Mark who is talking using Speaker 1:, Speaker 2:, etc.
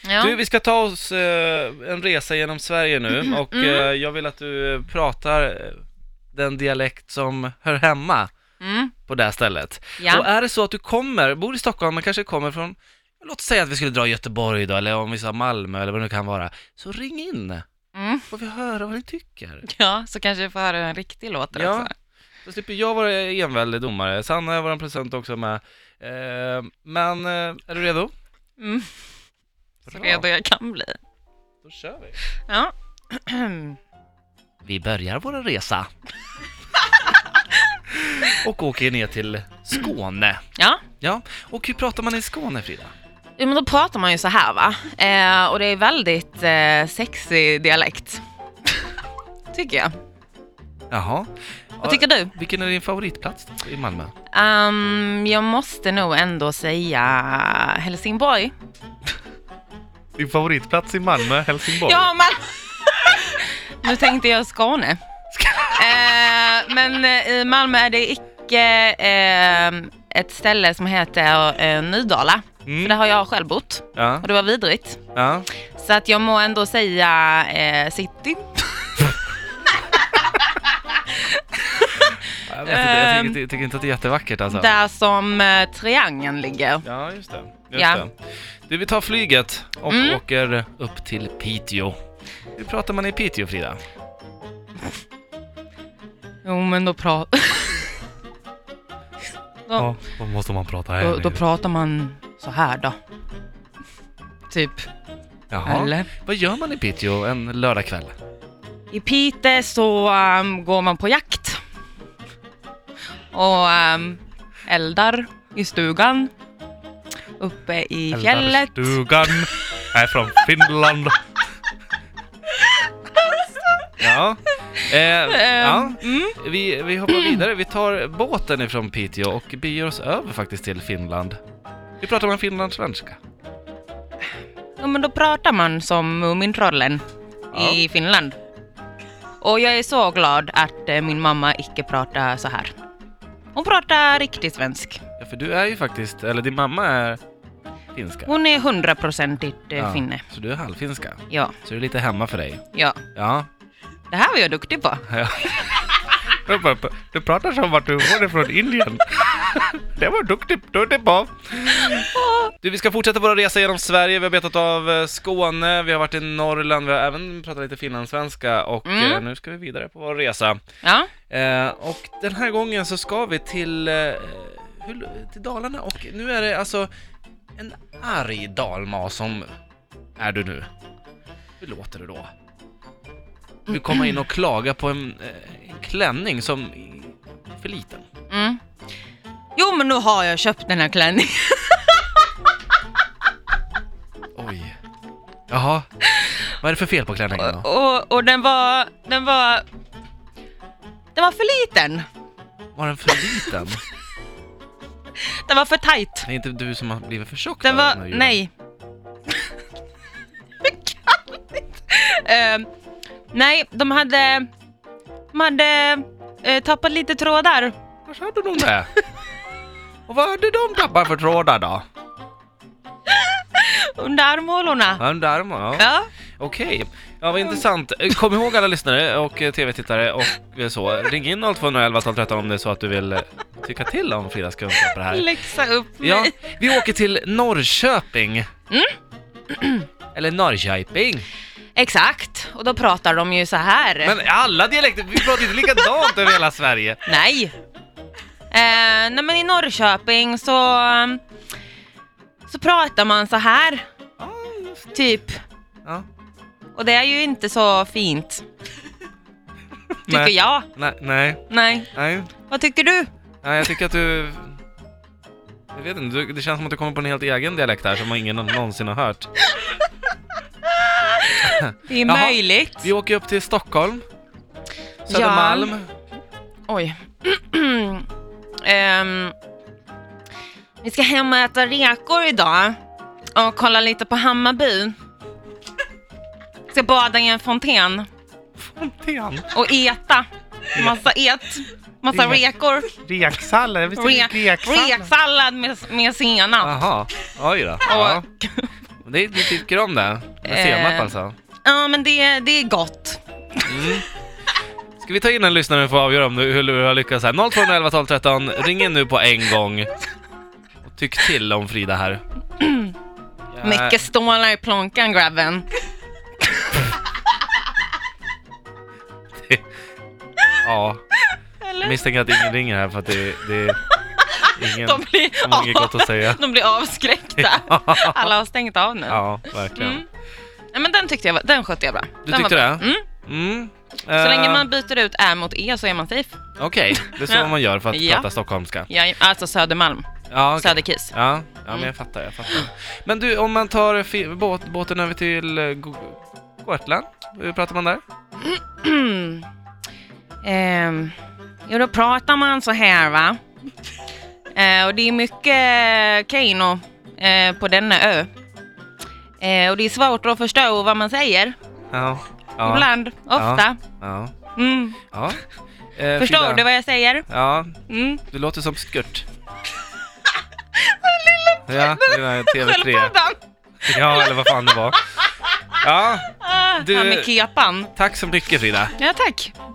Speaker 1: Ja.
Speaker 2: Du, vi ska ta oss eh, en resa genom Sverige nu och
Speaker 1: Mm.
Speaker 2: eh, jag vill att du eh, pratar eh, den dialekt som hör hemma
Speaker 1: Mm.
Speaker 2: på det här stället. Och
Speaker 1: Ja.
Speaker 2: är det så äh, att du kommer, bor i Stockholm, men kanske kommer från, låt säga att vi skulle dra Göteborg då, eller om vi sa Malmö eller vad det nu kan vara, så ring in,
Speaker 1: Mm.
Speaker 2: får vi höra vad ni tycker.
Speaker 1: ja, så kanske jag får höra en riktig låt
Speaker 2: Ja.
Speaker 1: också.
Speaker 2: Då slipper jag vara enväldig domare, Sanna är vår present också med. Eh, men eh, är du redo?
Speaker 1: Mm. Så
Speaker 2: Bra,
Speaker 1: redo jag kan bli.
Speaker 2: Då kör vi.
Speaker 1: Ja.
Speaker 2: Vi börjar vår resa. och åker ner till Skåne.
Speaker 1: ja.
Speaker 2: Ja, och hur pratar man i Skåne Frida?
Speaker 1: Jo men då pratar man ju så här va. Eh, och det är väldigt eh, sexig dialekt. Tycker jag.
Speaker 2: Jaha.
Speaker 1: Vad tycker du?
Speaker 2: Vilken är din favoritplats i Malmö?
Speaker 1: Ehm, jag måste nog ändå säga Helsingborg.
Speaker 2: Din favoritplats i Malmö, Helsingborg?
Speaker 1: Ja, men... nu tänkte jag Skåne. Eh, men eh, i Malmö är det icke eh, ett ställe som heter eh, Nydala. För där
Speaker 2: Mm.
Speaker 1: har jag själv bott
Speaker 2: Ja,
Speaker 1: och det var vidrigt.
Speaker 2: ja.
Speaker 1: Så att jag må ändå säga eh, city.
Speaker 2: Jag, vet inte, jag
Speaker 1: Ehm.
Speaker 2: tycker, tycker inte att det är jättevackert alltså.
Speaker 1: Där som eh, triangeln ligger.
Speaker 2: Ja, just det. Just
Speaker 1: Ja.
Speaker 2: det. Du, vi tar flyget och
Speaker 1: Mm.
Speaker 2: åker upp till Piteå. Hur pratar man i Piteå Frida?
Speaker 1: Jo men då pratar... då,
Speaker 2: då måste man prata
Speaker 1: då, då pratar man så här då. Typ.
Speaker 2: Jaha.
Speaker 1: Eller?
Speaker 2: Vad gör man i Piteå en lördagkväll?
Speaker 1: I Pite så ehm, går man på jakt. Och ehm, eldar i stugan. Uppe i fjället.
Speaker 2: Stugan är från Finland. ja. Eh, ja.
Speaker 1: Ehm, mm,
Speaker 2: Vi, vi hoppar vidare. Vi tar båten ifrån Piteå och beger oss över faktiskt till Finland. Vi pratar om finlandssvenska.
Speaker 1: ja, men då pratar man som Mumintrollen i Finland. Och jag är så glad att eh, min mamma icke pratar så här. Hon pratar riktigt svensk.
Speaker 2: Ja, för du är ju faktiskt, eller din mamma är finska.
Speaker 1: Hon är hundraprocentigt eh,
Speaker 2: Ja,
Speaker 1: finne.
Speaker 2: Så du är halvfinska.
Speaker 1: Ja,
Speaker 2: Så det är lite hemma för dig.
Speaker 1: ja.
Speaker 2: Ja.
Speaker 1: Det här var jag duktig på.
Speaker 2: ja. Du pratar som att du vore från Indien. Det var duktigt, duktigt på. Du, vi ska fortsätta våra resa genom Sverige. Vi har betat av eh, Skåne, vi har varit i Norrland, vi har även pratat lite finlandssvenska och
Speaker 1: Mm.
Speaker 2: eh, nu ska vi vidare på vår resa.
Speaker 1: Ja.
Speaker 2: Eh, och den här gången så ska vi till, eh, hur, till Dalarna och nu är det alltså en arg dalmas som är du nu. Hur låter du då? Du kommer in och klagar på en, eh, en klänning som är för liten.
Speaker 1: Mm. Jo, men nu har jag köpt den här klänningen.
Speaker 2: Oj. Jaha. Vad är det för fel på klänningen då?
Speaker 1: Och, och den var... Den var... Den var för liten.
Speaker 2: Var den för liten?
Speaker 1: Den var för tajt.
Speaker 2: Det är inte du som har blivit för tjock
Speaker 1: Den
Speaker 2: då,
Speaker 1: var...
Speaker 2: den här julen.
Speaker 1: Nej. jag kan inte. Ehm, nej, de hade... De hade eh, tappat lite trådar.
Speaker 2: Var hade de det? Och vad hade de tappat för trådar då?
Speaker 1: Under armhålorna.
Speaker 2: Ja, den där, ja.
Speaker 1: Ja.
Speaker 2: Okej, ja vad intressant. Eh, Kom ihåg alla lyssnare och eh, tv-tittare och eh, så, ring in 0211 12 13 om det är så att du vill eh, tycka till om Fridas kunskap på det här.
Speaker 1: Läxa upp mig.
Speaker 2: Ja, vi åker till Norrköping. Eller Norrköping.
Speaker 1: Exakt. Och då pratar de ju så här.
Speaker 2: Men alla dialekter, vi pratar inte likadant över hela Sverige.
Speaker 1: Nej. Eh, nej men i Norrköping så, um, så pratar man så här,
Speaker 2: Ja, just det.
Speaker 1: typ.
Speaker 2: Ja.
Speaker 1: Och det är ju inte så fint, tycker
Speaker 2: Nej,
Speaker 1: jag.
Speaker 2: nej, nej,
Speaker 1: Nej.
Speaker 2: nej,
Speaker 1: Vad tycker du?
Speaker 2: nej, jag tycker att du... Jag vet inte, du- det känns som att du kommer på en helt egen dialekt här som ingen någonsin har hört.
Speaker 1: Det är
Speaker 2: Jaha.
Speaker 1: möjligt.
Speaker 2: Vi åker upp till Stockholm. Södermalm.
Speaker 1: Oj. Ehm, vi ska hem och äta rekor idag och kolla lite på Hammarby. Ska bada i en fontän
Speaker 2: Fontän.
Speaker 1: och äta. Massa et, massa
Speaker 2: Rek.
Speaker 1: rekor.
Speaker 2: Reksallad? Visst
Speaker 1: Re- Reksallad med, med senap.
Speaker 2: Jaha, oj då. Ja.
Speaker 1: Och,
Speaker 2: Det, du tycker om det? Med
Speaker 1: Eh.
Speaker 2: senap alltså?
Speaker 1: Ja, men det, det är gott.
Speaker 2: Ska vi ta in en lyssnare för att avgöra om du, hur du har lyckats här? 0211 12 13, ring in nu på en gång. Och tyck till om Frida här. Ja,
Speaker 1: Mycket stålar i plånkan, grabben.
Speaker 2: Ja,
Speaker 1: Eller?
Speaker 2: jag misstänker att ingen ringer här för att det, det är ingen
Speaker 1: De blir,
Speaker 2: som har inget gott att säga.
Speaker 1: de blir avskräckta. Alla har stängt av nu.
Speaker 2: Ja, verkligen.
Speaker 1: Mm. Nej, men den tyckte jag var, den skötte jag bra.
Speaker 2: Du
Speaker 1: den
Speaker 2: tyckte
Speaker 1: var bra.
Speaker 2: det?
Speaker 1: Mm.
Speaker 2: Mm.
Speaker 1: Så
Speaker 2: Eh,
Speaker 1: länge man byter ut ä mot e så är man safe.
Speaker 2: Okej, det är så
Speaker 1: Ja.
Speaker 2: man gör för att
Speaker 1: Ja.
Speaker 2: prata stockholmska.
Speaker 1: Ja, alltså Södermalm,
Speaker 2: Ja, okej.
Speaker 1: Söderkis.
Speaker 2: Ja, ja men
Speaker 1: Mm.
Speaker 2: jag fattar, jag fattar. Men du, om man tar fi- båt, båten över till eh, Go- Gotland, hur pratar man där?
Speaker 1: Ehm, jo, då pratar man så här va. Eh, och det är mycket Keino eh, på denna ö. Eh, och det är svårt att förstå vad man säger.
Speaker 2: Ja. Ja.
Speaker 1: Ibland, ofta.
Speaker 2: ja,
Speaker 1: Mm.
Speaker 2: ja. Eh,
Speaker 1: Förstår
Speaker 2: Frida,
Speaker 1: du vad jag säger?
Speaker 2: Ja,
Speaker 1: Mm.
Speaker 2: du låter som Skurt. Ja, det var TV3.
Speaker 1: Sköldpaddan!
Speaker 2: Ja, eller vad fan det var. Ja,
Speaker 1: Ah,
Speaker 2: Du-
Speaker 1: Han med kepan.
Speaker 2: tack så mycket Frida.
Speaker 1: Ja, tack.